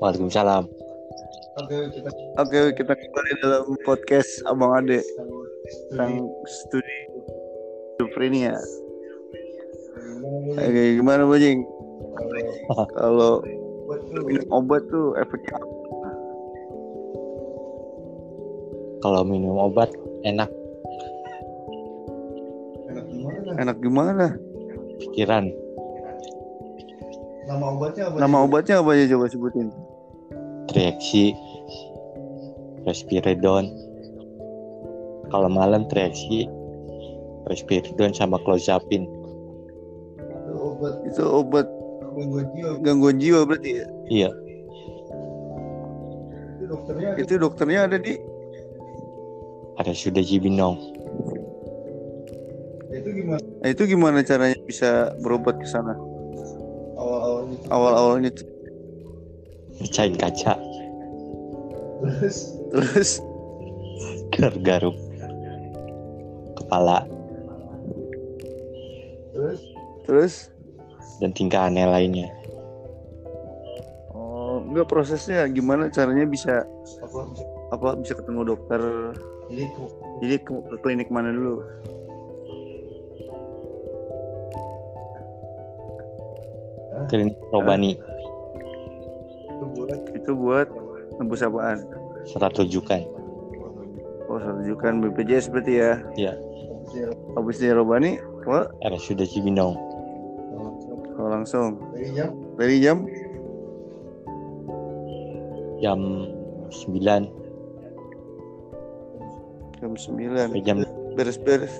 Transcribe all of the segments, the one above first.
Waalaikumsalam. Oke, kita kembali dalam podcast Abang Ade tentang studi schizophrenia. Oke, gimana Bojing? Kalau minum obat tuh efeknya apa? Kalau minum obat enak enak gimana? pikiran. Nama obatnya apa? Nama obatnya apa aja coba sebutin? Triaksi, respiridon. Kalau malam triaksi, respiridon sama clozapin. Itu obat Itu obat gangguan jiwa. gangguan jiwa berarti ya? Iya, Itu dokternya Itu dokternya ada di ada sudah jibinong. itu gimana Nah, itu gimana caranya bisa berobat ke sana? awal-awalnya? Awal-awalnya tuh. Pecahin kaca, Terus terus garuk-garuk. Kepala terus terus dan tingkahannya lainnya. oh, enggak prosesnya gimana caranya bisa apa? apa bisa ketemu dokter Jadi ku- jadi ke, ke klinik mana dulu Klinik Robani, itu buat itu buat nembus apaan surat rujukan. oh surat rujukan BPJS berarti ya Iya, habis dari Robani wah ada sudah jibinong. oh, langsung dari jam dari jam jam 9 jam 9 sampai jam beres-beres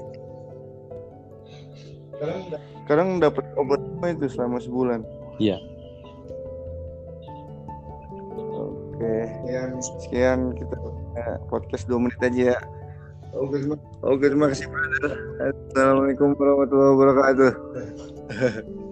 sekarang udah sekarang dapat obat apa itu selama sebulan Iya. oke yang sekian kita eh, podcast 2 menit aja ya obat Oke, terima kasih, brother. Assalamualaikum warahmatullahi wabarakatuh.